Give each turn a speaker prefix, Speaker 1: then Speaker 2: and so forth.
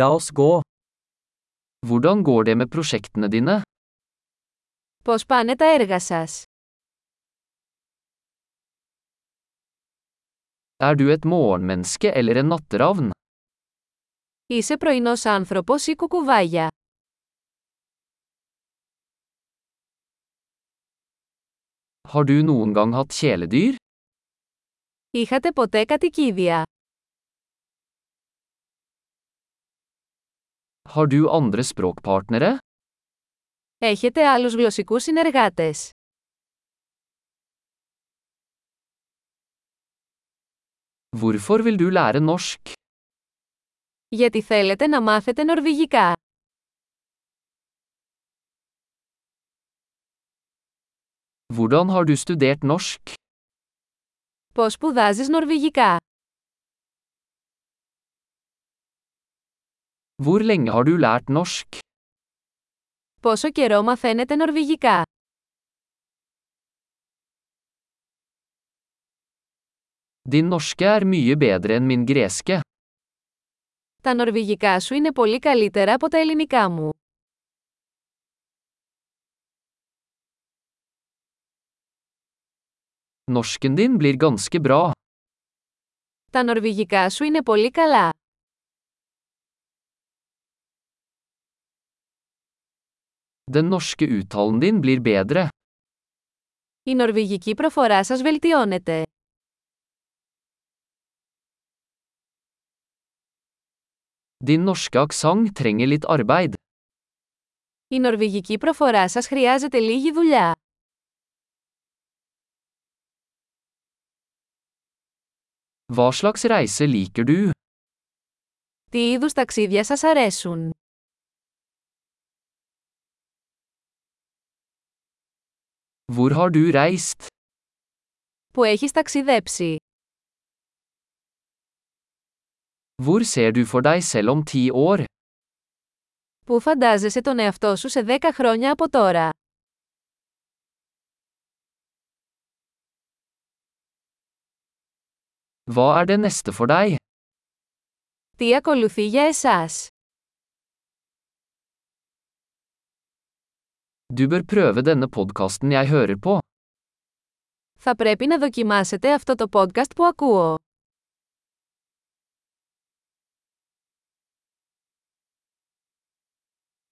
Speaker 1: La oss gå. Hvordan går det med prosjektene dine?
Speaker 2: Πώς πάνε τα έργα σας?
Speaker 1: Er du et morgenmenneske eller en natteravn?
Speaker 2: Είσαι πρωινός άνθρωπος ή κουκουβάγια.
Speaker 1: Har du noen gang hatt kjæledyr?
Speaker 2: Είχατε ποτέ κατοικίδια.
Speaker 1: Har du andre språkpartnere?
Speaker 2: Έχετε άλλους γλωσσικούς συνεργάτες.
Speaker 1: Hvorfor vil du lære norsk?
Speaker 2: Γιατί θέλετε να μάθετε νορβηγικά.
Speaker 1: Hvordan har du studert norsk?
Speaker 2: Πώς σπουδάζεις νορβηγικά.
Speaker 1: Hvor lenge har du lært norsk?
Speaker 2: Πόσο καιρό μαθαίνετε νορβηγικά.
Speaker 1: Din norske er mye bedre enn min greske.
Speaker 2: Τα νορβηγικά σου είναι πολύ καλύτερα από τα ελληνικά μου.
Speaker 1: Norsken din blir ganske bra.
Speaker 2: Τα νορβηγικά σου είναι πολύ καλά.
Speaker 1: Den norske uttalen din blir bedre.
Speaker 2: Η νορβηγική προφορά σας βελτιώνεται.
Speaker 1: Din norske aksang trenger litt arbeid.
Speaker 2: Η νορβηγική προφορά σας χρειάζεται λίγη δουλειά.
Speaker 1: Hva slags reise liker du?
Speaker 2: Τι είδους ταξίδια σας αρέσουν.
Speaker 1: Hvor har du reist?
Speaker 2: Που έχεις ταξιδέψει.
Speaker 1: Hvor ser du for deg selv om ti år?
Speaker 2: Πού φαντάζεσαι τον εαυτό σου σε 10 χρόνια από τώρα.
Speaker 1: Hva er det neste for deg?
Speaker 2: Τι ακολουθεί για εσάς.
Speaker 1: Du bør prøve denne podkasten jeg hører på.
Speaker 2: Θα πρέπει να δοκιμάσετε αυτό το podcast που ακούω.